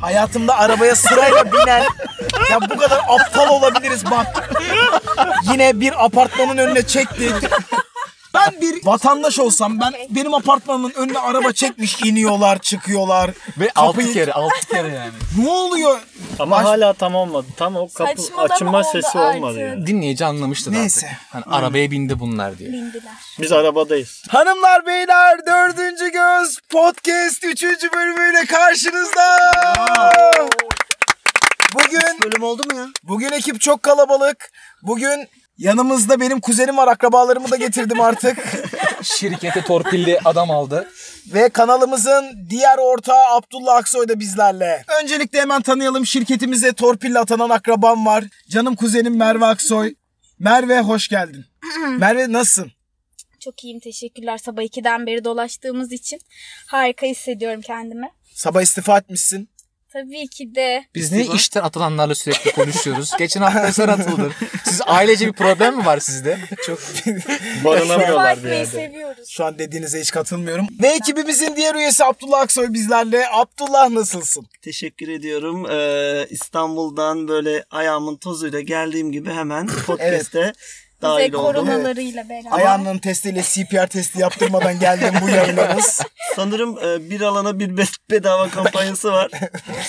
Hayatımda arabaya sırayla binen ya bu kadar aptal olabiliriz bak. Yine bir apartmanın önüne çekti. Ben bir vatandaş olsam ben benim apartmanımın önüne araba çekmiş iniyorlar çıkıyorlar. Ve Kapıyı- 6 kere 6 kere yani. Ne oluyor? Ama Baş- hala tam olmadı. Tam o kapı Saçmalama açılma oldu sesi artık. olmadı yani. Dinleyici anlamıştır Neyse. artık. Hani arabaya bindi bunlar diye. Bindiler. Biz arabadayız. Hanımlar beyler 4. Göz Podcast 3. bölümüyle karşınızda. Bugün Bölüm oldu mu ya? Bugün ekip çok kalabalık. Bugün yanımızda benim kuzenim var. Akrabalarımı da getirdim artık. Şirkete torpilli adam aldı. Ve kanalımızın diğer ortağı Abdullah Aksoy da bizlerle. Öncelikle hemen tanıyalım. Şirketimize torpille atanan akrabam var. Canım kuzenim Merve Aksoy. Merve hoş geldin. Merve nasılsın? Çok iyiyim teşekkürler sabah 2'den beri dolaştığımız için. Harika hissediyorum kendimi. Sabah istifa etmişsin. Tabii ki de Biz niye işten atılanlarla sürekli konuşuyoruz? Geçen hafta eser atıldı. Siz ailece bir problem mi var sizde? Çok istifa Barınamıyorlar bir etmeyi yerde. seviyoruz. Şu an dediğinize hiç katılmıyorum. Ve ekibimizin diğer üyesi Abdullah Aksoy bizlerle. Abdullah nasılsın? Teşekkür ediyorum. Ee, İstanbul'dan böyle ayağımın tozuyla geldiğim gibi hemen podcast'e Ve dahil oldum. koronalarıyla beraber. Ayağının testiyle CPR testi yaptırmadan geldim bu yayınlarız. Sanırım e, bir alana bir be- bedava kampanyası var.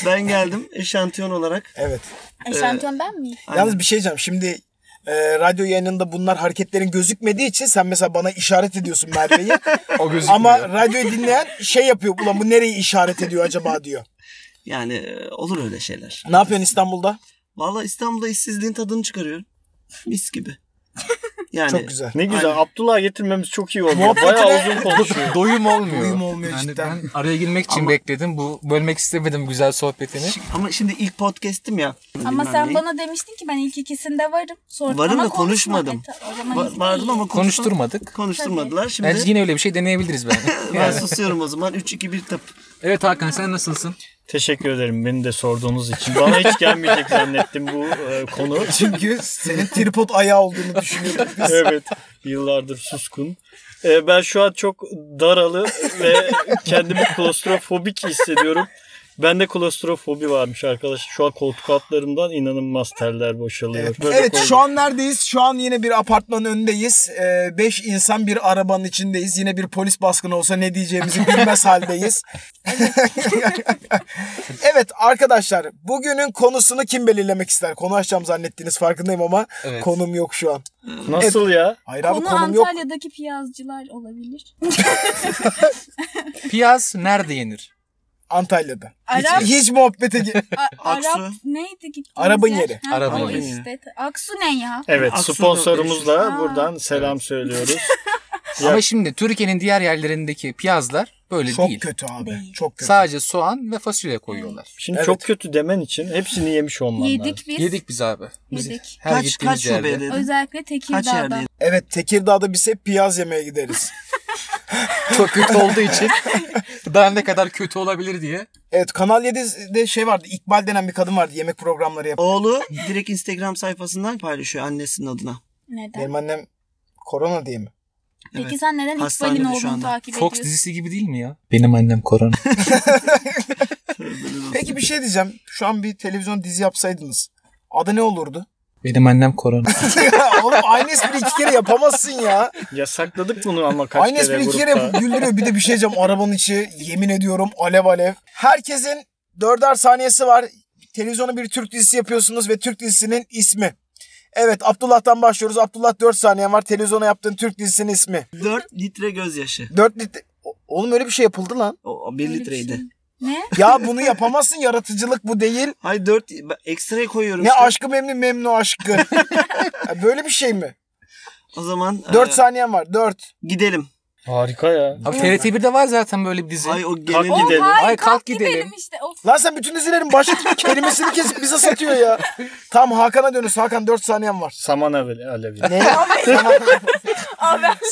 ben geldim eşantiyon olarak. Evet. Eşantiyon E, ben miyim? Yalnız bir şey diyeceğim. Şimdi e, radyo yayınında bunlar hareketlerin gözükmediği için sen mesela bana işaret ediyorsun Merve'yi. o gözükmüyor. Ama radyoyu dinleyen şey yapıyor. Ulan bu nereyi işaret ediyor acaba diyor. Yani e, olur öyle şeyler. Ne yapıyorsun İstanbul'da? Valla İstanbul'da işsizliğin tadını çıkarıyorum. Mis gibi. Yani Çok güzel. Ne güzel. Abdullah getirmemiz çok iyi oldu. Muhabbetine- Bayağı uzun konuşuyor. Doyum olmuyor. Doyum olmuyor cidden. Ben araya girmek için bekledim. Bu bölmek istemedim güzel sohbetini. Ama şimdi ilk podcast'im ya. Ama Bilmem sen neyi. bana demiştin ki ben ilk ikisinde varım. Sonra Varım ama da konuşma. konuşmadım. E, ta- o zaman Va- iyi vardım değil. ama konuşturmadılar. Konuşturmadık. Konuşturmadılar. Şimdi Bence yine öyle bir şey deneyebiliriz bence. ben susuyorum o zaman. 3-2-1 tıp. evet Hakan sen nasılsın? Teşekkür ederim beni de sorduğunuz için. Bana hiç gelmeyecek zannettim bu e, konu. Çünkü senin tripod ayağı olduğunu düşünüyordum. evet. Yıllardır suskun. Ee, ben şu an çok daralı ve kendimi klostrofobik hissediyorum. Bende klostrofobi varmış arkadaşlar. Şu an koltuk altlarımdan inanılmaz teller boşalıyor. Böyle Evet koydum. şu an neredeyiz? Şu an yine bir apartmanın önündeyiz. Ee, beş insan bir arabanın içindeyiz. Yine bir polis baskını olsa ne diyeceğimizi bilmez haldeyiz. evet arkadaşlar bugünün konusunu kim belirlemek ister? Konu açacağım zannettiğiniz farkındayım ama Evet. konum yok şu an. Nasıl ya? Hayır abi Konu konum yok. Antalya'daki piyazcılar olabilir. Piyaz nerede yenir? Antalya'da. Arap- Hiç, hiç muhabbete gi- A- Aksu. Arap neydi gittiğimiz Arabın yer? yeri. Ha, Arabın o yeri. işte. Aksu ne ya? Evet Aksu'da sponsorumuzla Aa. buradan selam söylüyoruz. Ya- Ama şimdi Türkiye'nin diğer yerlerindeki piyazlar böyle çok değil. kötü abi. Değil. Çok kötü. Sadece soğan ve fasulye koyuyorlar. Şimdi Evet. çok kötü demen için hepsini yemiş olman lazım. Yedik biz. Yedik biz abi. Biz Yedik. Her kaç gittiğimiz kaç yerde. şubeye dedin? Özellikle Kaç yerde Tekirdağ'da. yedin? Evet Tekirdağ'da biz hep piyaz yemeye gideriz. Çok kötü olduğu için daha ne kadar kötü olabilir diye. evet Kanal 7'de şey vardı. İkbal denen bir kadın vardı. Yemek programları yapıyor. Oğlu direkt Instagram sayfasından paylaşıyor annesinin adına. Neden? Benim annem korona diye mi? Peki Evet. sen neden İkbal'in Hastanede şu olduğunu anda. takip Fox ediyorsun? dizisi gibi değil mi ya? Benim annem korona. Peki bir şey diyeceğim. Şu an bir televizyon dizi yapsaydınız. Adı ne olurdu? Benim annem korona. Oğlum aynı espri iki kere yapamazsın ya. Yasakladık bunu ama kaç aynı espri kere iki kere grupta. yapıp güldürüyor. Bir de bir şey diyeceğim. Arabanın içi yemin ediyorum alev alev. Herkesin dörder saniyesi var. Televizyona bir Türk dizisi yapıyorsunuz ve Türk dizisinin ismi. Evet Abdullah'tan başlıyoruz. Abdullah 4 saniyen var. Televizyona yaptığın Türk dizisinin ismi. 4 litre gözyaşı. 4 litre... O- Oğlum öyle bir şey yapıldı lan. O 1 Öyle bir litreydi. şey. Ne? Ya bunu yapamazsın. Yaratıcılık bu değil. Hayır 4 ekstraya koyuyorum. Ne işte. aşkı memnun memnu aşkı. Ya Böyle bir şey mi? O zaman 4 e, saniyen var. 4. gidelim. Harika ya. Abi TRT1'de var zaten böyle bir dizi. Ay o Kalk gene gidelim. Hayır, Ay, kalk, kalk gidelim. gidelim. işte. Of. Lan sen bütün dizilerin baş kelimesini kesip bize satıyor ya. Tam Hakan'a dönüyoruz. Hakan 4 saniyen var. Saman alevi. alevi. Ne?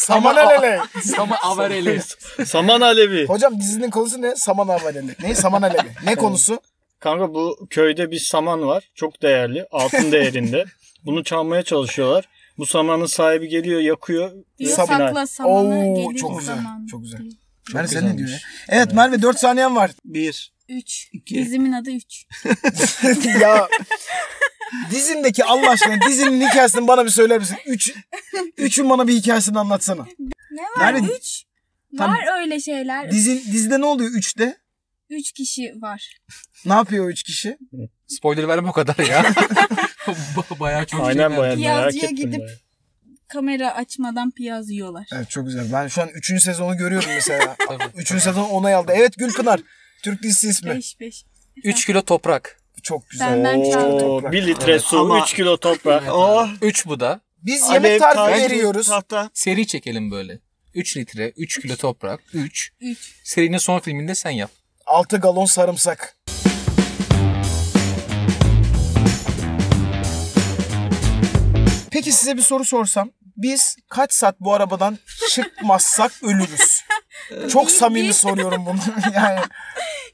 Saman alele. Sama Avareli. Saman alevi. Hocam dizinin konusu ne? Saman alele. Ne? Saman alele. Ne konusu? Kanka bu köyde bir saman var. Çok değerli. Altın değerinde. Bunu çalmaya çalışıyorlar. Bu samanın sahibi geliyor yakıyor. Diyor Sabina. sakla samanı Oo, gelir çok o güzel, zaman çok güzel. diyor. Merve sen ne güzelmiş. diyorsun ya? Evet Merve 4 saniyen var. 1 3. İki. Dizimin adı 3. ya dizindeki Allah aşkına dizinin hikayesini bana bir söyler misin? Üç, üçün bana bir hikayesini anlatsana. Ne var? Nerede? 3. Tam- Var öyle şeyler. Dizi, dizide ne oluyor üçte? 3 kişi var. Ne yapıyor o üç kişi? Spoiler verme o kadar ya. Ba- bayağı çok şey Aynen bayağı Piyazcıya merak ettim. gidip- bayağı. Kamera açmadan piyaz yiyorlar. Evet çok güzel. Ben şu an üçüncü sezonu görüyorum mesela. Tabii. üçüncü sezon onay aldı. Evet Gülpınar. Türk dizisi ismi. 5 5. 3 kilo toprak. Çok güzel. Benden çaldım. Oo, bir litre Evet, su, ama- 3 kilo toprak. Oh. 3 bu da. Biz Alev, yemek tarifi tahta, veriyoruz. Tahta. Seri çekelim böyle. 3 litre, 3 kilo toprak, 3. 3. Serinin son filminde sen yap. 6 galon sarımsak. Peki size bir soru sorsam. Biz kaç saat bu arabadan çıkmazsak ölürüz? Çok samimi soruyorum bunu. yani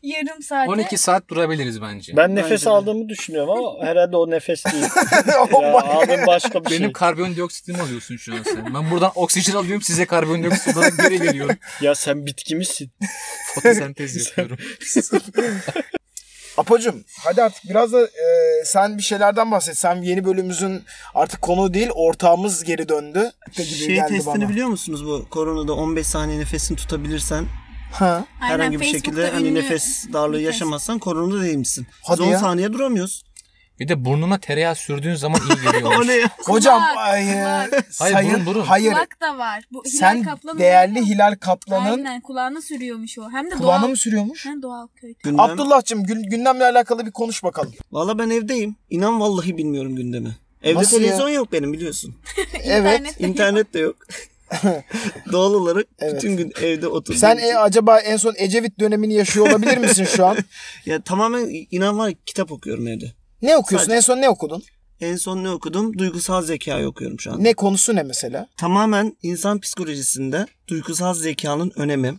Yarım saate 12 saat durabiliriz bence. Ben nefes Bence de. aldığımı düşünüyorum ama herhalde o nefes değil. Oh ya, aldım başka bir şey. Benim karbondioksitimi alıyorsun şu an sen. Ben buradan oksijen alıyorum size karbondioksit olarak geri geliyorum. şey. Ya sen bitki misin? Fotosentez yapıyorum. Apacım hadi artık biraz da e, sen bir şeylerden bahset. Sen yeni bölümümüzün artık konu değil ortağımız geri döndü. Gibi Şey geldi testini bana. biliyor musunuz bu koronada 15 saniye nefesini tutabilirsen Ha. Aynen, herhangi bir Facebook'ta şekilde hani ünlü nefes darlığı bir test. yaşamazsan koronada değilmişsin. Hadi Biz 10 ya. saniye duramıyoruz. Bir de burnuna tereyağı sürdüğün zaman iyi geliyor. O ne ya? Hocam Kulak, ay, e, kulak. sayın, Hayır, burun, burun. hayır. Kulak da var. Bu Hilal Sen Kaplan'ın değerli var ya. Hilal Kaplan'ın Aynen kulağına sürüyormuş o. Hem de kulağına doğal. mı sürüyormuş? Hem doğal köy. Gündem. Abdullah'cığım gün- gündemle alakalı bir konuş bakalım. Valla ben evdeyim. İnan vallahi bilmiyorum gündemi. Evde Nasıl televizyon yok benim biliyorsun. evet. İnternet- İnternet de yok. Doğal olarak Evet. bütün gün evde oturdum. Sen e, acaba en son Ecevit dönemini yaşıyor olabilir misin şu an? Ya tamamen inan var ya, kitap okuyorum evde. Ne okuyorsun? En son ne okudun? En son ne okudum? Duygusal zekayı okuyorum şu an. Ne konusu ne mesela? Tamamen insan psikolojisinde duygusal zekanın önemi,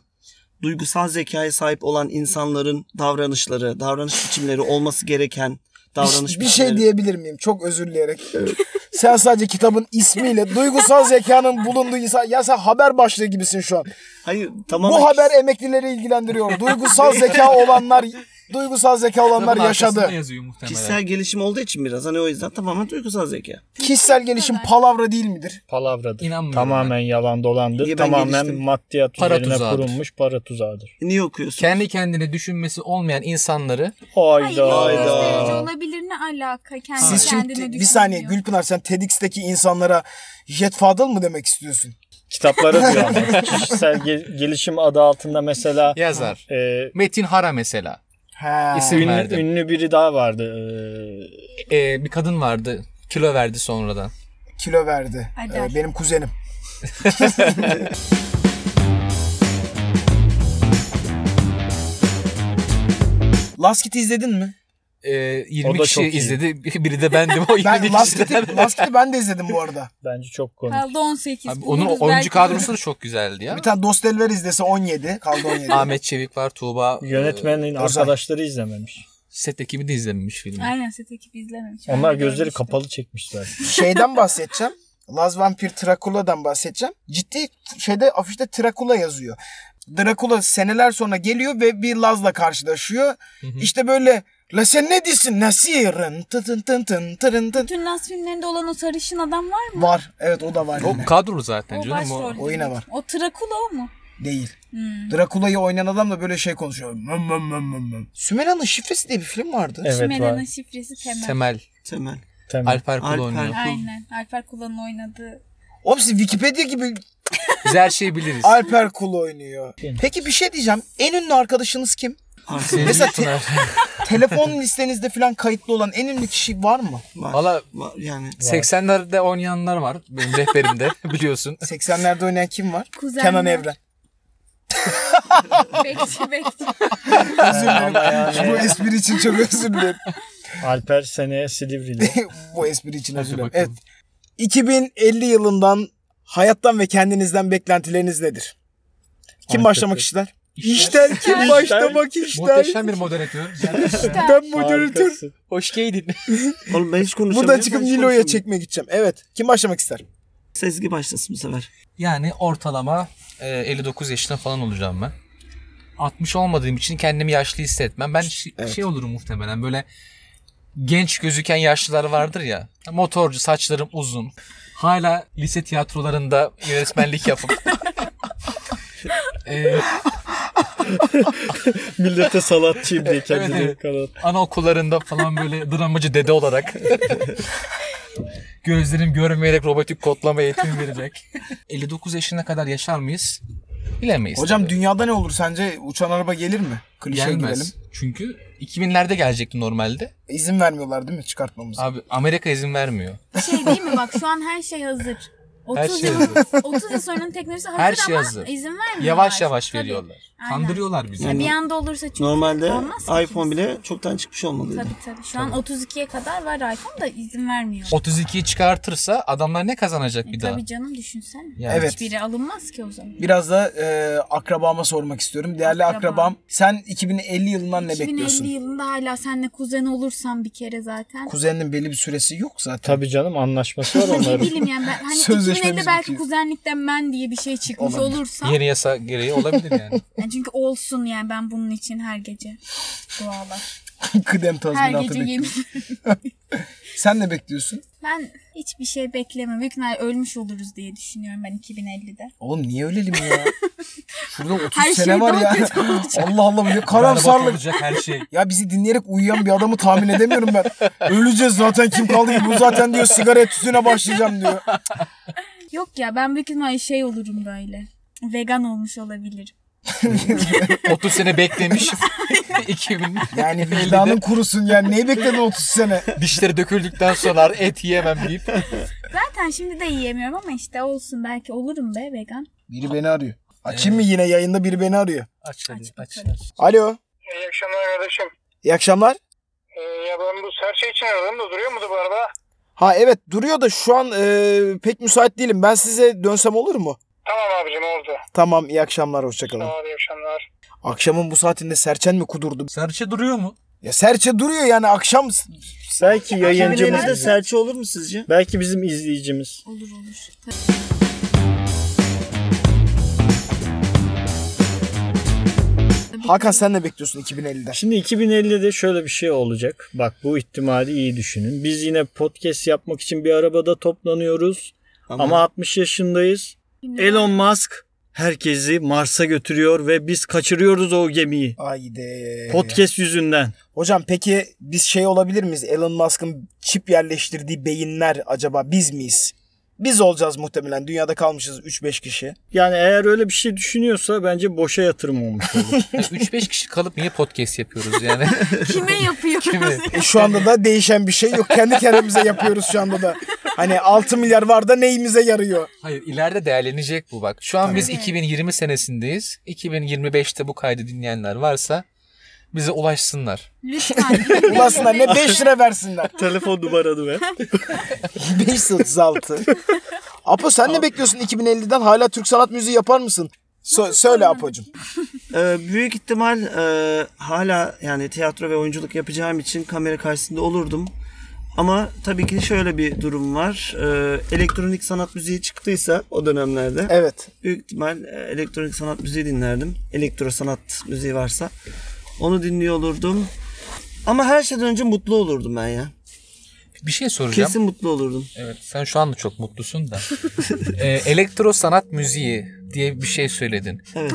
duygusal zekaya sahip olan insanların davranışları, davranış biçimleri olması gereken davranış Bir, bir şey biçimleri. diyebilir miyim? Çok özür dileyerek. Sen sadece kitabın ismiyle duygusal zekanın bulunduğu insan. Ya sen haber başlığı gibisin şu an. Hayır Bu tamamen haber emeklileri ilgilendiriyor. Duygusal zeka olanlar duygusal zeka olanlar Kitabın arkasında yaşadı. yazıyor muhtemelen. kişisel gelişim olduğu için biraz hani o yüzden tamamen duygusal zeka. Kişisel gelişim palavra değil midir? Palavradır. İnanmıyorum Tamamen yalan dolandır. Niye ben Tamamen geliştim? maddiyat Para üzerine tuzağıdır. kurulmuş para tuzağıdır. Niye okuyorsun? Kendi kendine düşünmesi olmayan insanları Hayır, Hayda. gösterici olabilir ne alaka? Kendi Siz kendine şimdi bir düşünmüyor. saniye Gülpınar sen TEDx'teki insanlara Jet Fadıl mı demek istiyorsun? Kitaplara diyor ama. Kişisel ge- gelişim adı altında mesela yazar. e, Metin Hara mesela. He. İsim ünlü, verdim. ünlü biri daha vardı. E, Ee, bir kadın vardı. Kilo verdi sonradan. kilo verdi. Hadi Ee, hadi. benim kuzenim. Laskit'i izledin mi? Ee, O 20 da kişi çok iyi. izledi. Biri de bendim o 20 Ben kişiden. Laskit'i, Laskit'i ben de izledim bu arada. bence çok komik. Kaldı 18. Abi onun Buluruz 10. belki. kadrosu da çok güzeldi ya. Bir tane Dostelver izlese 17. Kaldı 17. Ahmet Çevik var, Tuğba. e, Yönetmenin Ozan. arkadaşları izlememiş. set ekibi de izlememiş filmi. Aynen set ekibi izlememiş. Onlar Ben de gözleri görmüştüm. kapalı çekmişler. Şeyden bahsedeceğim. Laz Vampir Trakula'dan bahsedeceğim. Ciddi şeyde afişte Trakula yazıyor. Drakula seneler sonra geliyor ve bir Laz'la karşılaşıyor. İşte böyle La sen ne diyorsun? Nasir'ın tın tın tın tın tırın tın. Bütün Nas filmlerinde olan o sarışın adam var mı? Var. Evet o da var. O yine. kadrolu zaten O canım. O, başrol. o yine var. O Trakula o mu? Değil. Drakula'yı oynayan adam da böyle şey konuşuyor. Mım mım mım mım mım. Sümela'nın Şifresi diye bir film vardı. Evet var. Sümela'nın şifresi Temel. Temel. Temel. Temel. Alper Kul Alper. oynuyor. Aynen. Alper Kula'nın oynadığı. Oğlum siz Wikipedia gibi Biz her şeyi biliriz. Alper Kul oynuyor. Peki bir şey diyeceğim. En ünlü arkadaşınız kim? Artık Sevgili Mesela- Pınar. Telefon listenizde falan kayıtlı olan en ünlü kişi var mı? var. Valla Var yani. 80'lerde oynayanlar var. Benim rehberimde biliyorsun. 80'lerde oynayan kim var? Kuzenler. Kenan Evren. Bekçi bekçi. Özür dilerim. Bu espri için çok özür dilerim. Alper seneye Silivri'de. Bu espri için özür dilerim. Evet. bakalım. 2050 yılından hayattan ve kendinizden beklentileriniz nedir? Kim Ay, başlamak kötü. ister? şey. İşler şey. kim başlamak ister? Muhteşem bir moderatör. Ben moderatör. Harikasın. Hoş geldin. Oğlum ben hiç konuşamıyorum. Buradan ben çıkıp hiç Nilo'ya konuşamıyorum. çekmeye gideceğim. Evet. Kim başlamak ister? Sezgi başlasın bu sefer. Yani ortalama e, 59 yaşında falan olacağım ben. 60 olmadığım için kendimi yaşlı hissetmem. Ben şi- Evet. şey olurum muhtemelen böyle genç gözüken yaşlılar vardır ya. Motorcu saçlarım uzun. Hala lise tiyatrolarında yönetmenlik yapıp e, eee Millete salatçıyım diye kendini evet. kanat. anaokullarında falan böyle dramacı dede olarak gözlerim görmeyerek robotik kodlama eğitimi verecek. 59 yaşına kadar yaşar mıyız? Bilemeyiz. Hocam şey tabii. dünyada ne olur sence? Uçan araba gelir mi? Klişe girelim. gelmez. Çünkü 2000'lerde gelecekti normalde. İzin vermiyorlar değil mi çıkartmamıza? Abi Amerika izin vermiyor. Şey değil mi bak şu an her şey hazır. 30 Her şey yıl, hazır. 30 yıl sonranın teknolojisi hazır Her şey ama hazır. izin vermiyorlar. Yavaş yavaş Tabii. veriyorlar. Aynen. Kandırıyorlar bizi. Bir anda olursa çünkü Normalde olmaz ki iPhone kimse. bile çoktan çıkmış olmalıydı. Tabii tabii. Şu an 32'ye kadar var iPhone da izin vermiyor. E, 32'yi çıkartırsa adamlar ne kazanacak bir daha? Tabii canım düşünsene. Yani Evet. Hiçbiri alınmaz ki o zaman. Biraz da e, akrabama sormak istiyorum. Değerli Akraba. akrabam sen 2050 yılından ne 2050 bekliyorsun? yılında hala seninle kuzen olursam bir kere zaten. Kuzeninin belli bir süresi yok zaten. Tabii canım anlaşması var Ne onların. bileyim yani ben hani Sözleşmemiz 2050 belki bitiyor. kuzenlikten ben diye bir şey çıkmış Olabilir. olursam. Yeni yasa gereği olabilir yani. Yani çünkü olsun yani ben bunun için her gece dualar. Kıdem Her tazminatı gece bekliyorum. yemin. Sen ne bekliyorsun? Ben hiçbir şey beklemem. Büyük ihtimalle ölmüş oluruz diye düşünüyorum ben 2050'de. Oğlum niye ölelim ya? Şurada 30 Her sene şey var daha ya. kötü Allah Allah bu ne Berbat karamsarlık. olacak her şey. Ya bizi dinleyerek uyuyan bir adamı tahmin edemiyorum ben. Öleceğiz zaten kim kaldı ki? Bu zaten diyor sigara tütüne başlayacağım diyor. Yok ya ben büyük ihtimalle şey olurum böyle. Vegan olmuş olabilirim. 30 sene beklemiş. 2000 Yani vicdanın kurusun yani. Neyi bekledin 30 sene? dişleri döküldükten sonra et yiyemem deyip. Zaten şimdi de yiyemiyorum ama işte olsun belki olurum be vegan. Biri beni arıyor. Açayım mı yine yayında biri beni arıyor. Aç hadi aç. bakalım. Alo. İyi akşamlar kardeşim. İyi akşamlar. Ee, ya ben bu her şey için aradım da duruyor muydu bu araba? Ha evet duruyor da şu an e, pek müsait değilim. Ben size dönsem olur mu? Tamam abicim oldu. Tamam iyi akşamlar hoşçakalın. Tamam iyi akşamlar. Akşamın bu saatinde serçen mi kudurdu? Serçe duruyor mu? Ya serçe duruyor yani akşam s- Belki yayıncımız. 2050'de serçe olur mu sizce? Belki bizim izleyicimiz. Olur olur. Tabii. Hakan sen ne bekliyorsun 2050'de? Şimdi 2050'de şöyle bir şey olacak. Bak bu ihtimali iyi düşünün. Biz yine podcast yapmak için bir arabada toplanıyoruz. Ama 60 yaşındayız. Elon Musk herkesi Mars'a götürüyor ve biz kaçırıyoruz o gemiyi. Haydi. Podcast yüzünden. Hocam peki biz şey olabilir miyiz? Elon Musk'ın çip yerleştirdiği beyinler acaba biz miyiz? Biz olacağız muhtemelen. Dünyada kalmışız 3-5 kişi. Yani eğer öyle bir şey düşünüyorsa bence boşa yatırım olmuş olur. Ya 3-5 kişi kalıp niye podcast yapıyoruz yani? Kime yapıyoruz? Kime? E şu anda da değişen bir şey yok. Kendi kendimize yapıyoruz şu anda da. Hani 6 milyar var da neyimize yarıyor? Hayır ileride değerlenecek bu bak. Şu an biz Tabii. 2020 senesindeyiz. 2025'te bu kaydı dinleyenler varsa bize ulaşsınlar. Lütfen. Ulasınlar ne 5 lira versinler. Telefon numaranı ver. 536. Apo sen ne bekliyorsun 2050'den? Hala Türk sanat müziği yapar mısın? Sö- söyle Apo'cum. Ee, büyük ihtimal e, hala yani tiyatro ve oyunculuk yapacağım için kamera karşısında olurdum. Ama tabii ki şöyle bir durum var. Ee, elektronik sanat müziği çıktıysa o dönemlerde Evet. büyük ihtimal e, elektronik sanat müziği dinlerdim. Elektro sanat müziği varsa onu dinliyor olurdum. Ama her şeyden önce mutlu olurdum ben ya. Bir şey soracağım. Kesin mutlu olurdum. Evet sen şu anda çok mutlusun da. Ee, elektro sanat müziği diye bir şey söyledin. Evet.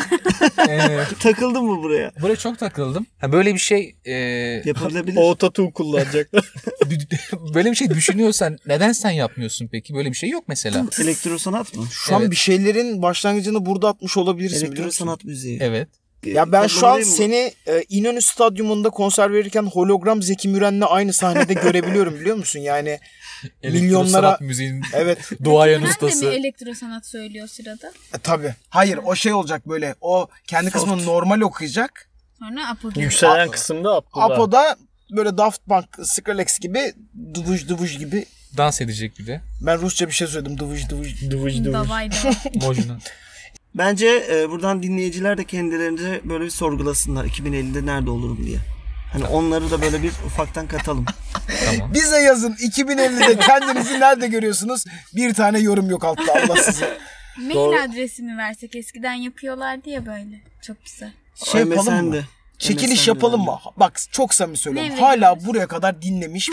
Ee, Takıldım mı buraya? buraya çok takıldım. Ha, böyle bir şey e, Yapılabilir. Autotune kullanacaklar. böyle bir şey düşünüyorsan neden sen yapmıyorsun peki? Böyle bir şey yok mesela. Elektro sanat mı? Şu an Evet. bir şeylerin başlangıcını burada atmış olabilirsin biliyor Elektro musun? sanat müziği. Evet. Ya ben şu an Kabul edeyim mi? seni e, İnönü Stadyumunda konser verirken hologram Zeki Müren'le aynı sahnede görebiliyorum biliyor musun? Yani Elektro Milyonlara- sanat müziğin evet duayen Ben de ustası. mi elektro sanat söylüyor sırada? e, tabii. Hayır o şey olacak böyle o kendi kısmını normal okuyacak. Sonra Apo geliyor. Yükselen kısımda Abdullah. Apo da böyle Daft Punk, Skrillex gibi duvuş duvuş gibi. Dans edecek bir de. Ben Rusça bir şey söyledim duvuş duvuş. Dıvıç dıvıç. Davay davay. Mojuna. Bence e, buradan dinleyiciler de kendilerinde böyle bir sorgulasınlar 2050'de nerede olurum diye. Hani onları da böyle bir ufaktan katalım. tamam. Bize yazın 2050'de kendinizi nerede görüyorsunuz? Bir tane yorum yok altta Allah size. Mail adresimi versek eskiden yapıyorlardı ya böyle. Çok güzel. Şey yapalım mı? MSN'de. Çekiliş MSN'de yapalım bende. mı? Bak çok samimi söylüyorum. Ne Hala veriyoruz? buraya kadar dinlemiş.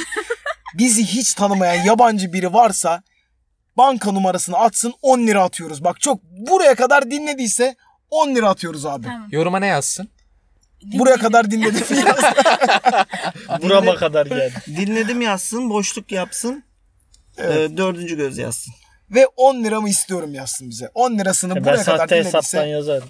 bizi hiç tanımayan yabancı biri varsa banka numarasını atsın 10 lira atıyoruz. Bak çok buraya kadar dinlediyse 10 lira atıyoruz abi. Tamam. Yoruma ne yazsın? Buraya kadar dinledi. Burama kadar geldi. Dinledim yazsın, boşluk yapsın. e, dördüncü göz yazsın. Ve 10 liramı istiyorum yazsın bize. 10 lirasını E ben buraya kadar sahte hesaptan dinlediyse. yazarım.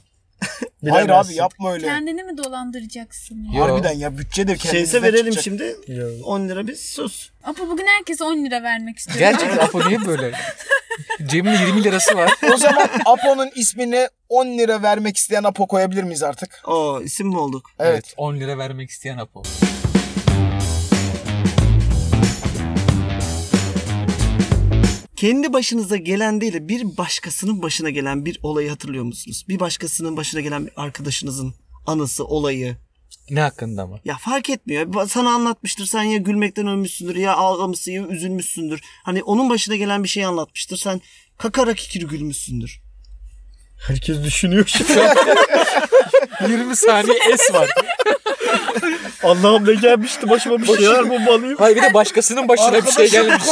Hayır abi Bilemezsin. yapma öyle. Kendini mi dolandıracaksın ya? Yo. Harbiden ya bütçe de kendimizden Şeyse verelim çıkacak. şimdi. Biliyorum. 10 lira biz sus. Ama bugün herkese 10 lira vermek istiyorum. Gerçekten Apo niye böyle? Cebinde 20 lirası var. O zaman Apo'nun ismini 10 lira vermek isteyen Apo koyabilir miyiz artık? O isim mi olduk? Evet. 10 lira vermek isteyen Apo. Kendi başınıza gelen değil de bir başkasının başına gelen bir olayı hatırlıyor musunuz? Bir başkasının başına gelen bir arkadaşınızın anısı, olayı. Ne hakkında mı? Ya fark etmiyor. Ba- Sana anlatmıştır. Sen ya gülmekten ölmüşsündür ya ağlamışsın ya üzülmüşsündür. Hani onun başına gelen bir şeyi anlatmıştır. Sen kakara kikir gülmüşsündür. Herkes düşünüyor şu an. 20 saniye es var. Allah'ım ne gelmişti başıma bir şey şeyler mi balıyım? Hayır bir de başkasının başına bir şey gelmiş.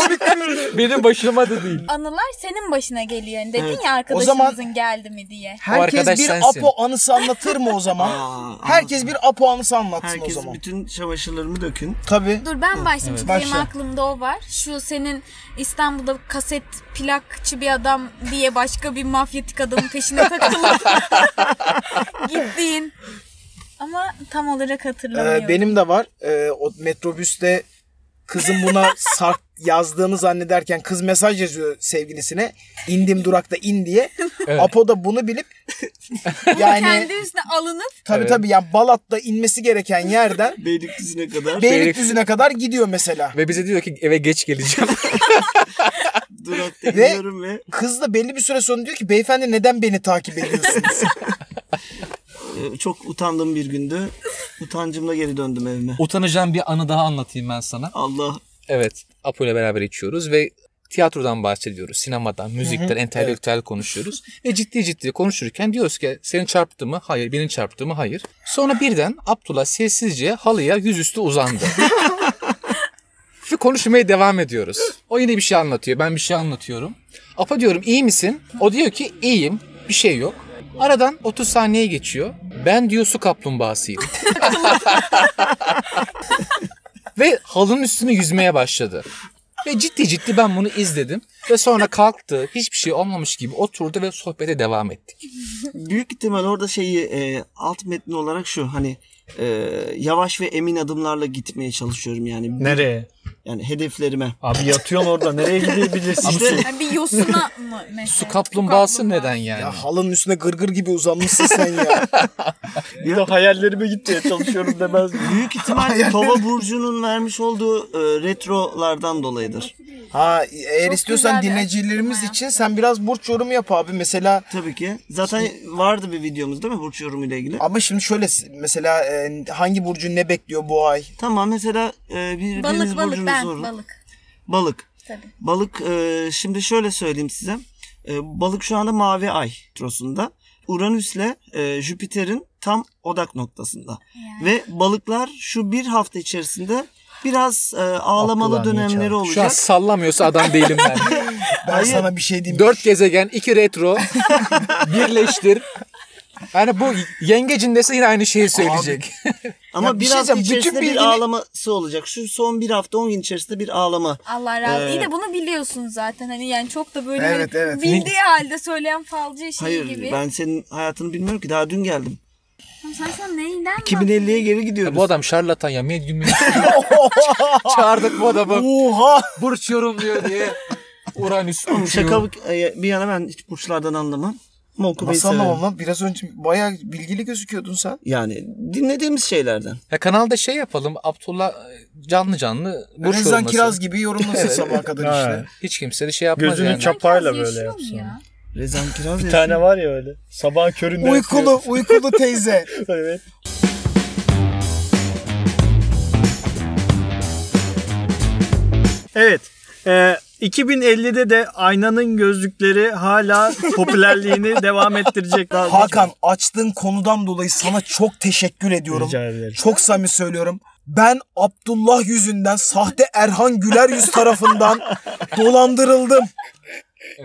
Benim başıma da değil. Anılar senin başına geliyor. Yani dedin ya O arkadaşımızın zaman- geldi mi diye. Herkes arkadaş bir sensin. Apo anısı anlatır mı o zaman? Aa, Herkes bir Apo anısı anlatsın o herkes zaman. bütün çamaşırlarımı dökün. Tabii. Dur ben başlayayım çünkü benim Başla. aklımda o var. Şu senin İstanbul'da kaset plakçı bir adam diye başka bir mafyatik adamın peşine takılıp gittiğin. Ama tam olarak hatırlamıyorum. Ee, benim de var. Ee, o metrobüste kızın buna sark yazdığını zannederken kız mesaj yazıyor sevgilisine. İndim durakta in diye. Evet. Apo da bunu bilip yani Kendi üstüne alınıp tabii Evet. tabii yani Balat'ta inmesi gereken yerden Beylikdüzü'ne kadar. Beylikdüzü'ne kadar gidiyor mesela. Ve bize diyor ki eve geç geleceğim. Durakta Ve- iniyorum ve Kız da belli bir süre sonra diyor ki beyefendi neden beni takip ediyorsunuz? e, çok utandığım bir gündü. Utancımla geri döndüm evime. Utanacağım bir anı daha anlatayım ben sana. Allah Evet. Apo ile beraber içiyoruz ve tiyatrodan bahsediyoruz. Sinemadan, müzikten, entelektüel konuşuyoruz. ve ciddi ciddi konuşurken diyoruz ki senin çarptı mı? Hayır. Benim çarptı mı? Hayır. Sonra birden Abdullah sessizce halıya yüzüstü uzandı. ve konuşmaya devam ediyoruz. O yine bir şey anlatıyor. Ben bir şey anlatıyorum. Apo diyorum iyi misin? O diyor ki iyiyim. Bir şey yok. Aradan 30 saniye geçiyor. Ben diyor su kaplumbağasıyım. ve halının üstüne yüzmeye başladı. Ve ciddi ciddi ben bunu izledim. Ve sonra kalktı. Hiçbir şey olmamış gibi oturdu ve sohbete devam ettik. büyük ihtimal orada şeyi e, alt metni olarak şu hani e, yavaş ve emin adımlarla gitmeye çalışıyorum yani. Bir- Nereye? Yani hedeflerime. Abi yatıyorsun orada. Nereye gidebilirsin? İşte yani bir yosuna mı mesela? Su kaplumbağası neden yani? ya halının üstüne gırgır gibi uzanmışsın sen ya. Bir de hayallerime gitmeye çalışıyorum demez mi? büyük ihtimal Tova Burcu'nun vermiş olduğu e, retrolardan dolayıdır. Ha eğer Çok istiyorsan güzel bir dinleyicilerimiz açıklama ya. için sen biraz burç yorumu yap abi. Mesela Tabii ki. Zaten vardı bir videomuz değil mi Burç yorumuyla ilgili? ama şimdi şöyle mesela e, hangi burcu ne bekliyor bu ay? Tamam mesela e, bir, biriniz Balık balık burcunuzu ben sorun. balık. Balık. Tabii. Balık e, şimdi şöyle söyleyeyim size. E, balık şu anda mavi ay trosunda. Uranüs'le e, Jüpiter'in tam odak noktasında. Ve balıklar şu bir hafta içerisinde biraz e, ağlamalı Abdullah niye dönemleri çağırdı? Şu an olacak. sallamıyorsa adam değilim ben. Ben Hayır. sana bir şey diyeyim. Dört gezegen, iki retro, birleştir. Yani bu yengecindese yine aynı şeyi söyleyecek. Ama Ya bir bir, şey hafta diyeceğim, bütün içerisinde bir bilgini- ağlaması olacak. Şu son bir hafta on gün içerisinde bir ağlama. Allah razı. Ee, İyi de bunu biliyorsun zaten. Hani yani çok da böyle hani Evet, evet. bildiği halde söyleyen falcı şey Hayır gibi. ben senin hayatını bilmiyorum ki daha dün geldim. Tamam, Sen sen neyden 2050'ye geri gidiyoruz. bu adam şarlatan ya. Medyum medyum. Çağırdık bu adamı. Oha! Burç yorumluyor diye. Uranüs. Şaka e, bir bir yana ben hiç burçlardan anlamam. Ama okumayı Nasıl severim. anlamam lan? Biraz önce bayağı bilgili gözüküyordun sen. Yani dinlediğimiz şeylerden. Ya kanalda şey yapalım. Abdullah canlı canlı burç Rezan yorumlasın. Kiraz gibi yorumlasın sabaha kadar işte. Ha. Hiç kimse de şey yapmaz Gözünü yani. çap- Çapayla böyle yapsam. Rezan Kiraz Bir tane var ya öyle. Sabah köründe Uykulu, uykulu teyze. yatıyor. Evet. Evet. e, 2050'de de aynanın gözlükleri hala popülerliğini devam ettirecek. Hakan açtığın konudan dolayı sana çok teşekkür ediyorum. Rica ederim. Çok samimi söylüyorum. Ben Abdullah yüzünden sahte Erhan Güler yüz tarafından dolandırıldım.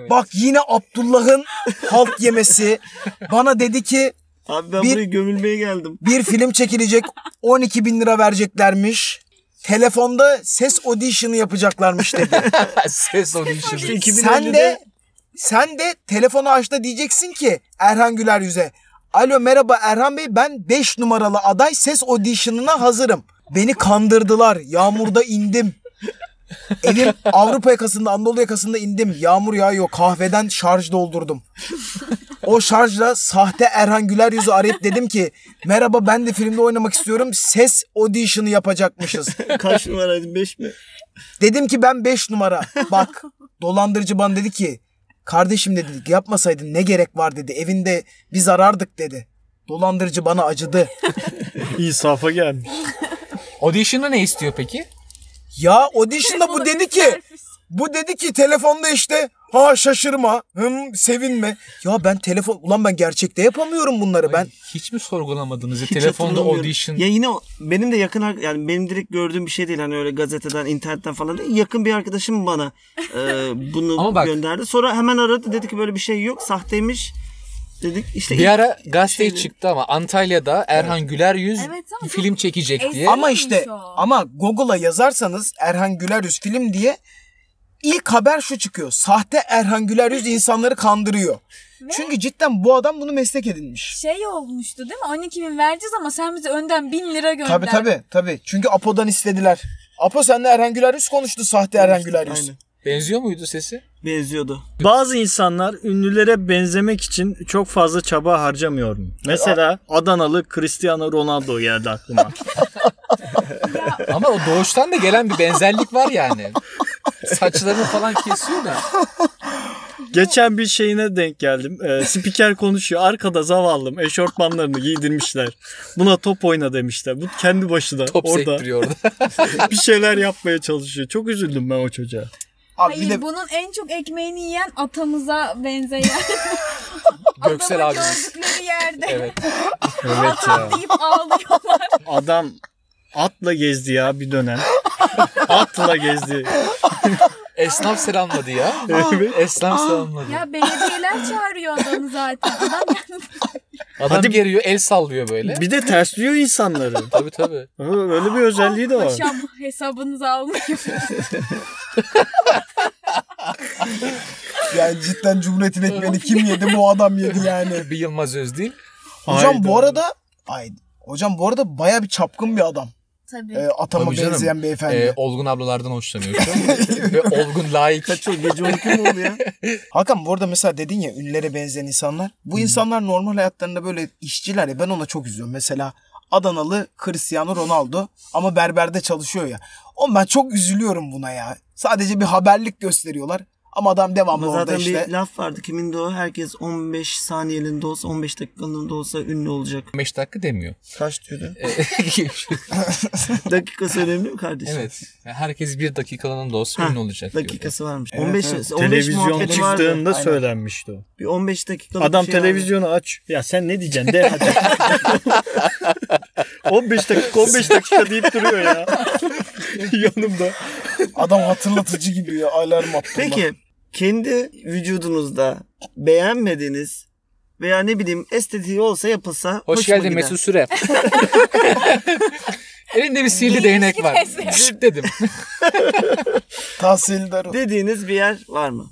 Bak yine Abdullah'ın halk yemesi bana dedi ki Abi ben Bir- buraya gömülmeye geldim. bir film çekilecek 12 bin lira vereceklermiş. Telefonda ses audition'ı yapacaklarmış dedi. Ses audition. 2050'de sen de sen de telefonu açta diyeceksin ki Erhan Güler yüze. Alo merhaba Erhan Bey ben 5 numaralı aday ses audition'ına hazırım. Beni kandırdılar. Yağmurda indim. Evim Avrupa yakasında, Anadolu yakasında indim. Yağmur yağıyor. Kahveden şarj doldurdum. O şarjla sahte Erhan Güler yüzü arayıp dedim ki merhaba ben de filmde oynamak istiyorum. Ses audition'ı yapacakmışız. kaç numaraydı 5 mi? Dedim ki ben 5 numara. Bak dolandırıcı bana dedi ki kardeşim dedi yapmasaydın ne gerek var dedi. Evinde biz arardık dedi. Dolandırıcı bana acıdı. İnsafa gelmiş. Audition'da ne istiyor peki? Ya audition'da bu dedi ki bu dedi ki telefonda işte ha şaşırma hım sevinme. Ya ben telefon ulan ben gerçekte yapamıyorum bunları ben. Hiç mi sorgulamadınız? ya? Hiç Telefonda hatırlamıyorum. audition. Ya yine o- benim de yakın ar- yani benim direkt gördüğüm bir şey değil hani öyle gazeteden internetten falan değil. Yakın bir arkadaşım bana e, bunu Ama bak- gönderdi. Sonra hemen aradı dedi ki böyle bir şey yok sahteymiş. Dedik işte Bir ilk- ara gazeteye Şeyle- çıktı ama Antalya'da Erhan Güler yüz Evet ama çok film çekecek eski. diye. Ama- Ama işte Neymiş o? ama Google'a yazarsanız Erhan Güleryüz film diye ilk haber şu çıkıyor. Sahte Erhan Güleryüz insanları kandırıyor. Çünkü cidden bu adam bunu meslek edinmiş. Şey olmuştu değil mi? 12 bin vereceğiz ama sen bize önden 1000 lira gönder. Tabi tabi tabi. Çünkü Apo'dan istediler. Apo senle Erhan Güleryüz konuştu sahte Erhan Güleryüz. Aynen. Benziyor muydu sesi? Benziyordu. Bazı insanlar ünlülere benzemek için çok fazla çaba harcamıyor mu? Mesela Adanalı Cristiano Ronaldo geldi aklıma. Ama o doğuştan da gelen bir benzerlik var yani. Saçlarını falan kesiyor da. Geçen bir şeyine denk geldim. Ee, spiker konuşuyor. Arkada zavallım eşortmanlarını giydirmişler. Buna top oyna demişler. Bu kendi başına Top orada sektiriyor orada. bir şeyler yapmaya çalışıyor. Çok üzüldüm ben o çocuğa. Abi bir Hayır de bunun en çok ekmeğini yiyen atamıza benzeyen. Göksel Adamı abimiz. gördükleri yerde Evet. atam deyip ağlıyorlar. Adam atla gezdi ya bir dönem. Atla gezdi. Esnaf selamladı ya. Esnaf selamladı. ya belediyeler çağırıyor adamı zaten. Adam Adam geliyor el sallıyor böyle. Bir de tersliyor insanları. Tabii tabii. Ha, Öyle bir özelliği de var. paşam hesabınızı almayayım. yani cidden Cumhuriyet'in ekmeğini kim yedi bu adam yedi yani. Bir Yılmaz Özdil. Hocam bu Hayda. arada ay, hocam bu arada baya bir çapkın bir adam. Tabii. Ee, atama Tabii canım. benzeyen beyefendi. Ee, olgun ablalardan hoşlanıyor şu an. Ve olgun layık. Çok gece 12 mi oldu ya? Hakan bu arada mesela dedin ya ünlülere benzeyen insanlar. Bu insanlar normal hayatlarında böyle işçiler ya ben ona çok üzülüyorum. Mesela Adanalı Cristiano Ronaldo ama berberde çalışıyor ya. Oğlum ben çok üzülüyorum buna ya. Sadece bir haberlik gösteriyorlar ama adam devamlı Ama orada zaten işte. bir laf vardı. Kimin de o? Herkes 15 saniyelinde olsa 15 dakikalığında olsa ünlü olacak. 15 dakika demiyor. Ee, Kaç diyordu? Dakikası önemli mi kardeşim? evet. Herkes bir dakikalığının da olsa Ha, ünlü olacak diyor. Dakikası varmış. Evet, 15 evet. 15 Televizyon muhabbeti vardı. çıktığında Aynen. söylenmişti o. Bir 15 dakikalık Adam bir şey televizyonu aç. Ya sen ne diyeceksin de hadi. 15 dakika 15 dakika deyip duruyor ya. Yanımda. Adam hatırlatıcı gibi ya alarm attı. Peki kendi vücudunuzda beğenmediğiniz veya ne bileyim estetiği olsa yapılsa Hoş hoşuma geldin gider. Mesut Süre. Elinde bir sihirli Değişik değnek var. eser. Şşt dedim. Tahsildar. Dediğiniz bir yer var mı?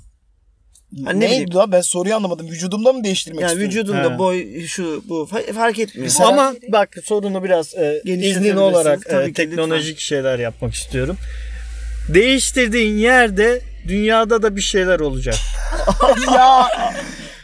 Hani ne bileyim. Neydi lan ben soruyu anlamadım. Vücudumda mı değiştirmek Yani istiyorum? vücudunda He. boy şu bu fa- fark etmiyor. Mesela- Ama bak sorunu biraz e, Genişletebilirsiniz. iznin olarak e, Tabii ki, teknolojik şeyler yapmak istiyorum. Değiştirdiğin yerde dünyada da bir şeyler olacak. Ya,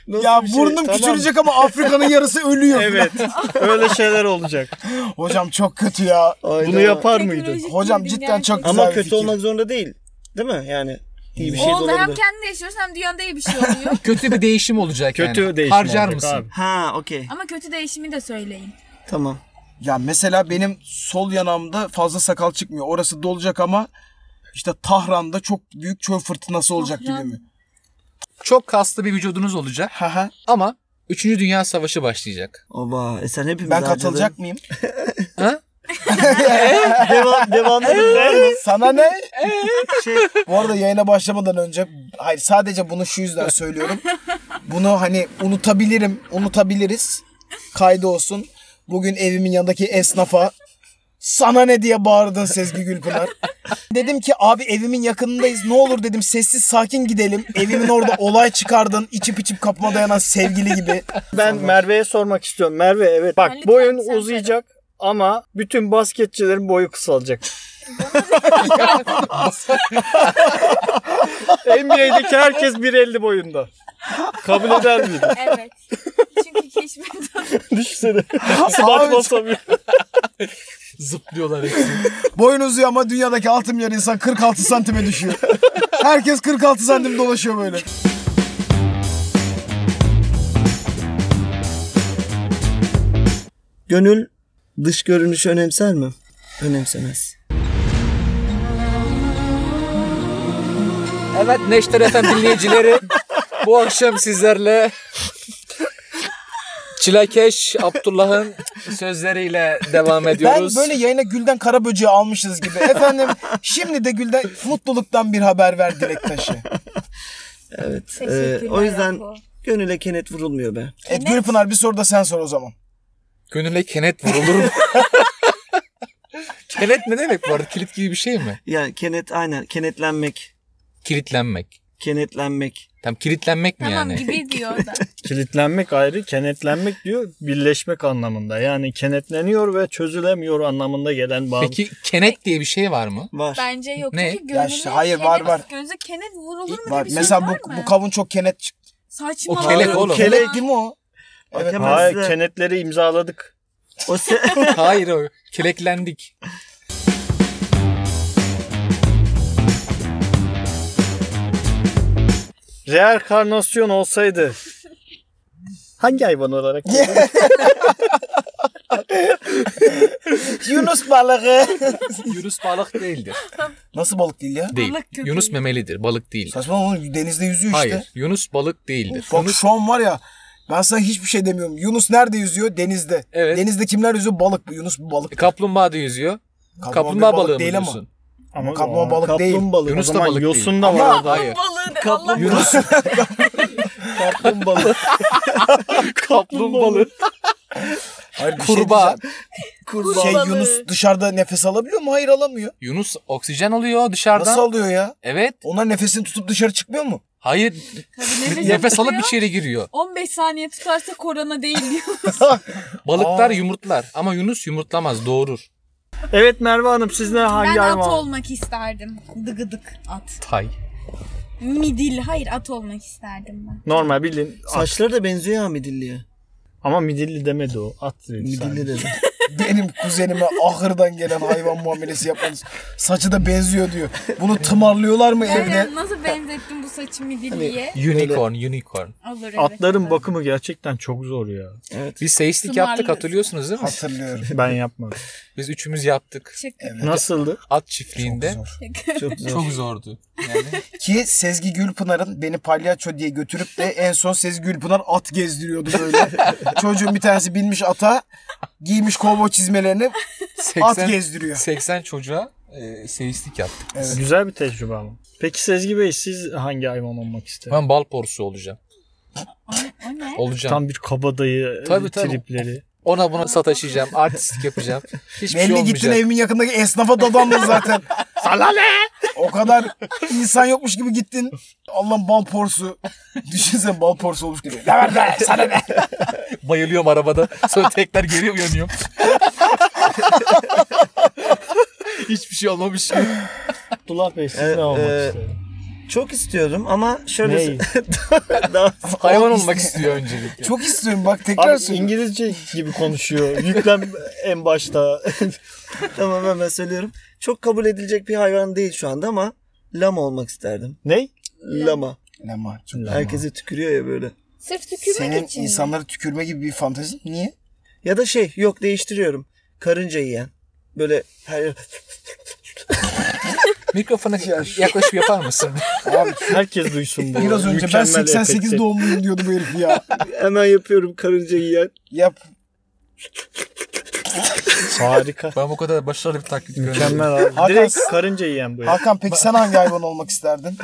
Nasıl ya bir şey? burnum Tamam. küçülecek ama Afrika'nın yarısı ölüyor. Evet. Öyle şeyler olacak. Hocam çok kötü ya. Ayda. Bunu yapar mıydın? Teknolojik Hocam bir cidden dünya çok yaşıyoruz. güzel Ama bir kötü fikir. olmak zorunda değil. Değil mi? Yani iyi bir şey de Oldu hem olabilir. kendi yaşıyorsun hem dünyada iyi bir şey oluyor. Kötü bir değişim olacak Kötü yani. değişim Harcar olacak mısın? abi. Ha okey. Ama kötü değişimi de söyleyin. Tamam. Ya mesela benim sol yanağımda fazla sakal çıkmıyor. Orası dolacak ama İşte Tahran'da çok büyük çöl fırtınası olacak Tahran. gibi mi? Çok kaslı bir vücudunuz olacak Ha ha. ama 3. Dünya Savaşı başlayacak. Oba e sen hepimiz Ben harcadın. katılacak mıyım? Ha? Devam, devamlı bir var mı? Sana ne? Şey, Bu arada yayına başlamadan önce hayır sadece bunu şu yüzden söylüyorum. Bunu hani unutabilirim, unutabiliriz. Kaydı olsun. Bugün evimin yanındaki esnafa sana ne diye bağırdın Sezgi Gülpınar. Dedim ki abi evimin yakınındayız ne olur dedim sessiz sakin gidelim. Evimin orada olay çıkardın içip içip kapıma dayanan sevgili gibi. Ben Merve'ye sormak istiyorum. Merve evet bak lütfen boyun sen uzayacak ama bütün basketçilerin boyu kısalacak. NBA'deki herkes 1.50 boyunda. Kabul eder miydin? Evet. Çünkü keşfettim. Düşünsene. Batman sanıyor. Zıplıyorlar hepsi. Boyun uzuyor ama dünyadaki altın yarı insan 46 santime düşüyor. Herkes 46 santim dolaşıyor böyle. gönül dış görünüşü önemser mi? Önemsemez. Evet Neşter Efem dinleyicileri bu akşam sizlerle Çilekeş Abdullah'ın sözleriyle devam ediyoruz. Ben böyle yayına Gülden Karaböcek'i almışız gibi. Efendim şimdi de Gülden mutluluktan bir haber ver Dilek Taşı. Evet. e, Teşekkürler o yüzden Apo. gönüle kenet vurulmuyor be. Evet Gülpınar bir soru da sen sor o zaman. Gönüle kenet vurulur mu? kenet ne demek bu arada? Kilit gibi bir şey mi? Yani kenet aynen kenetlenmek. Kilitlenmek. Kenetlenmek. Tam kilitlenmek mi Tamam yani? gibi diyor da. Kilitlenmek ayrı, kenetlenmek diyor birleşmek anlamında. Yani kenetleniyor ve çözülemiyor anlamında gelen bağım. Peki kenet diye bir şey var mı? Var. Bence yok. Ne? Çünkü Ya gönüllü işte hayır, var, kenet- var. Gönüllü kenet vurulur mu Var. diye bir söz Mesela var bu, mı? bu kavun çok kenet çıktı. O Saçmalama. kelek oğlum. Kelek değil mi o? Evet. Bak hemen Hayır, size- kenetleri imzaladık. o se- Hayır o kileklendik. Reenkarnasyon olsaydı hangi hayvan olarak? Yunus balığı. Yunus balık değildir. Nasıl balık değil ya? Değil. Balık köpeği. Yunus memelidir. Balık değil. Saçma oğlum denizde yüzüyor işte. Hayır. Yunus balık değildir. Bak Yunus şu an var ya ben sana hiçbir şey demiyorum. Yunus nerede yüzüyor? Denizde. Evet. Denizde kimler yüzüyor? Balık. Bu Yunus bu balık. E, kaplumbağa da yüzüyor. Kaplumbağa Kaplumbağa bir balığı mı değil ama. diyorsun? Ama Kaplumbağa balık kaplumbağa değil. balık. Yunus da o zaman balık değil. yosun da var. Hayır. Balığı de Kaplan- Allah Yunus Kaplumbağa. kaplumbağa. Hayır, bir şey Kurbağa. diyeceğim. Şey Kurbağa. Yunus dışarıda nefes alabiliyor mu? Hayır alamıyor. Yunus oksijen alıyor dışarıdan. Nasıl alıyor ya? Evet. Onlar nefesini tutup dışarı çıkmıyor mu? Hayır. Tabii Nefes alıp şey- tutuyor. içeri giriyor. 15 saniye tutarsa korona değil diyor. Balıklar Aa. yumurtlar ama Yunus yumurtlamaz doğurur. Evet Merve Hanım siz ne hangi ben at hayvan? olmak isterdim. Dıgıdık at. Tay. Midil. Hayır at olmak isterdim ben. Normal bildiğin at. Saçları da benziyor ya midilliye. Ama midilli demedi o. At dedi. Midilli sadece. dedi. Benim kuzenime ahırdan gelen hayvan muamelesi yapmanız. Saçı da benziyor diyor. Bunu tımarlıyorlar mı evde? Yani nasıl benzettin bu saçı midilliye? Unicorn, unicorn. Hani Olur evet. Atların bakımı gerçekten çok zor ya. Biz seyistik yaptık Tımarlıyoruz. hatırlıyorsunuz değil mi? Hatırlıyorum. Ben yapmadım. Biz üçümüz yaptık. Şaka. Nasıldı? At Çok çiftliğinde. zor. Çok Çok, zor. zordu. Yani Ki Sezgi Gülpınar'ın beni palyaço diye götürüp de en son Sezgi Gülpınar at gezdiriyordu böyle. Çocuğun bir tanesi binmiş ata, giymiş kovboy çizmelerini at 80, gezdiriyor. 80 çocuğa e, seyistik yaptık. Evet. Güzel bir tecrübe ama. Peki Sezgi Bey siz hangi hayvan olmak isterdiniz? Ben bal porsu olacağım. O ne? Olacağım. Tam bir kabadayı Tabii, tabii. tripleri. Ona buna sataşacağım. Artistlik yapacağım. Hiçbir şey Belli olmayacak. gittin evimin yakındaki esnafa dadandın zaten. Salale! O kadar insan yokmuş gibi gittin. Allah'ım bal porsu. Düşünsene bal porsu olmuş gibi. Ne var be sana ne? Bayılıyorum arabada. Sonra tekrar geri uyanıyorum. Hiçbir şey olmamış. Abdullah Bey siz Ee, ne olmak e, isterdiniz? Çok istiyordum ama şöyle Neyi? daha Hayvan Oğlum olmak iste- istiyor öncelikle. Çok istiyorum bak tekrar Abi söylüyorum. İngilizce gibi konuşuyor. Yüklem en başta. tamam hemen söylüyorum. Çok kabul edilecek bir hayvan değil şu anda ama lama olmak isterdim. ne? Lama. Ne mahcup. Herkese tükürüyor ya böyle. Sırf tükürmek Senin için. mi? insanları tükürme gibi bir fantezin niye? Ya da şey yok değiştiriyorum. Karınca yiyen. Böyle her Mikrofona Ya şu- yaklaşıp yapar mısın? Herkes duysun bu. Biraz önce ben mükemmel 88 efekti. doğumluyum diyordu bu herif ya. Hemen yapıyorum karınca yiyen. Yap. Harika. ben bu kadar başarılı bir taklit görmedim. Mükemmel abi. Hakan- Direkt karınca yiyen bu. herif. Hakan peki sen hangi hayvan olmak isterdin?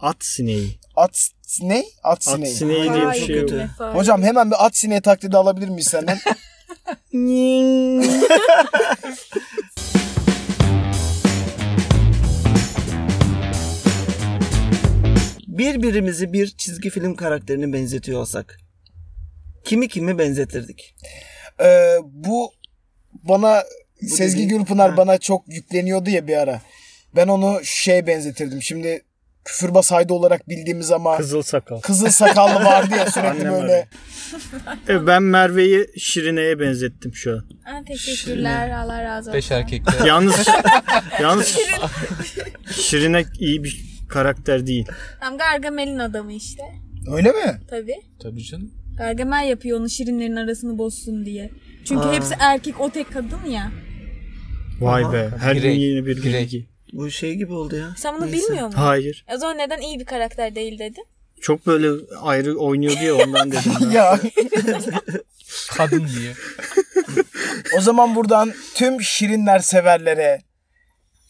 At sineği. At ne? At At sineği. sineği diye bir Vay, şey yok. kötü. Efe. Hocam hemen bir at sineği taklidi alabilir miyiz senden? Birbirimizi bir çizgi film karakterine benzetiyor olsak. Kimi kimi benzetirdik? Ee, bu bana Sezgi değil. Gülpınar Ha. bana çok yükleniyordu ya bir ara. Ben onu şey benzetirdim. Şimdi küfürbaz haydi olarak bildiğimiz ama Kızıl sakal. kızıl sakallı vardı ya sürekli Annem böyle. E, ben Merve'yi Şirine'ye benzettim şu an. Ha, teşekkürler. Allah razı olsun. Beş erkekler. Yalnız yalnız Şirine iyi bir karakter değil. Tam Gargamel'in adamı işte. Öyle mi? Tabii. Tabii canım. Gargamel yapıyor onu şirinlerin arasını bozsun diye. Çünkü Aa. hepsi erkek o tek kadın ya. Vay be. Her gün Birey, yeni bir birey. bilgi. Bu şey gibi oldu ya. Sen bunu Neyse. bilmiyor musun? Hayır. O zaman neden iyi bir karakter değil dedin? Çok böyle ayrı oynuyor diye ondan dedim ben. Ya Kadın diye. o zaman buradan tüm şirinler severlere,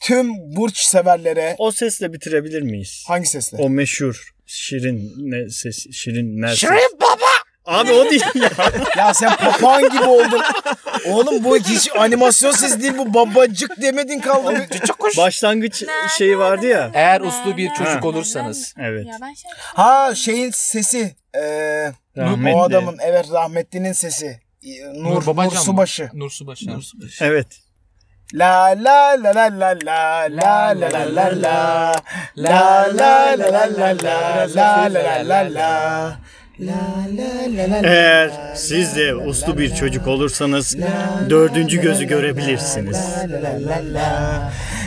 tüm burç severlere O sesle bitirebilir miyiz? hangi sesle? O meşhur Şirin ne ses Şirin ne Şirin baba. Abi o değil ya. Ya sen papağan gibi oldun. Oğlum bu hiç animasyon ses değil bu babacık demedin kaldı. Başlangıç şeyi vardı ya. Eğer uslu bir Ha. çocuk olursanız. Evet. Ya ben şey Ha şeyin sesi. Ee, Rahmetli. O adamın evet rahmetlinin sesi. e, Nur, Nur, Babacan mı? Subaşı. Nur Subaşı. Evet. La la la la la la la la la la la la la la la la la la la la la la Eğer siz de uslu bir çocuk olursanız dördüncü gözü görebilirsiniz.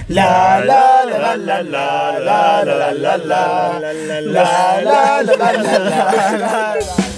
La la la la la la la la la la la la la la la la la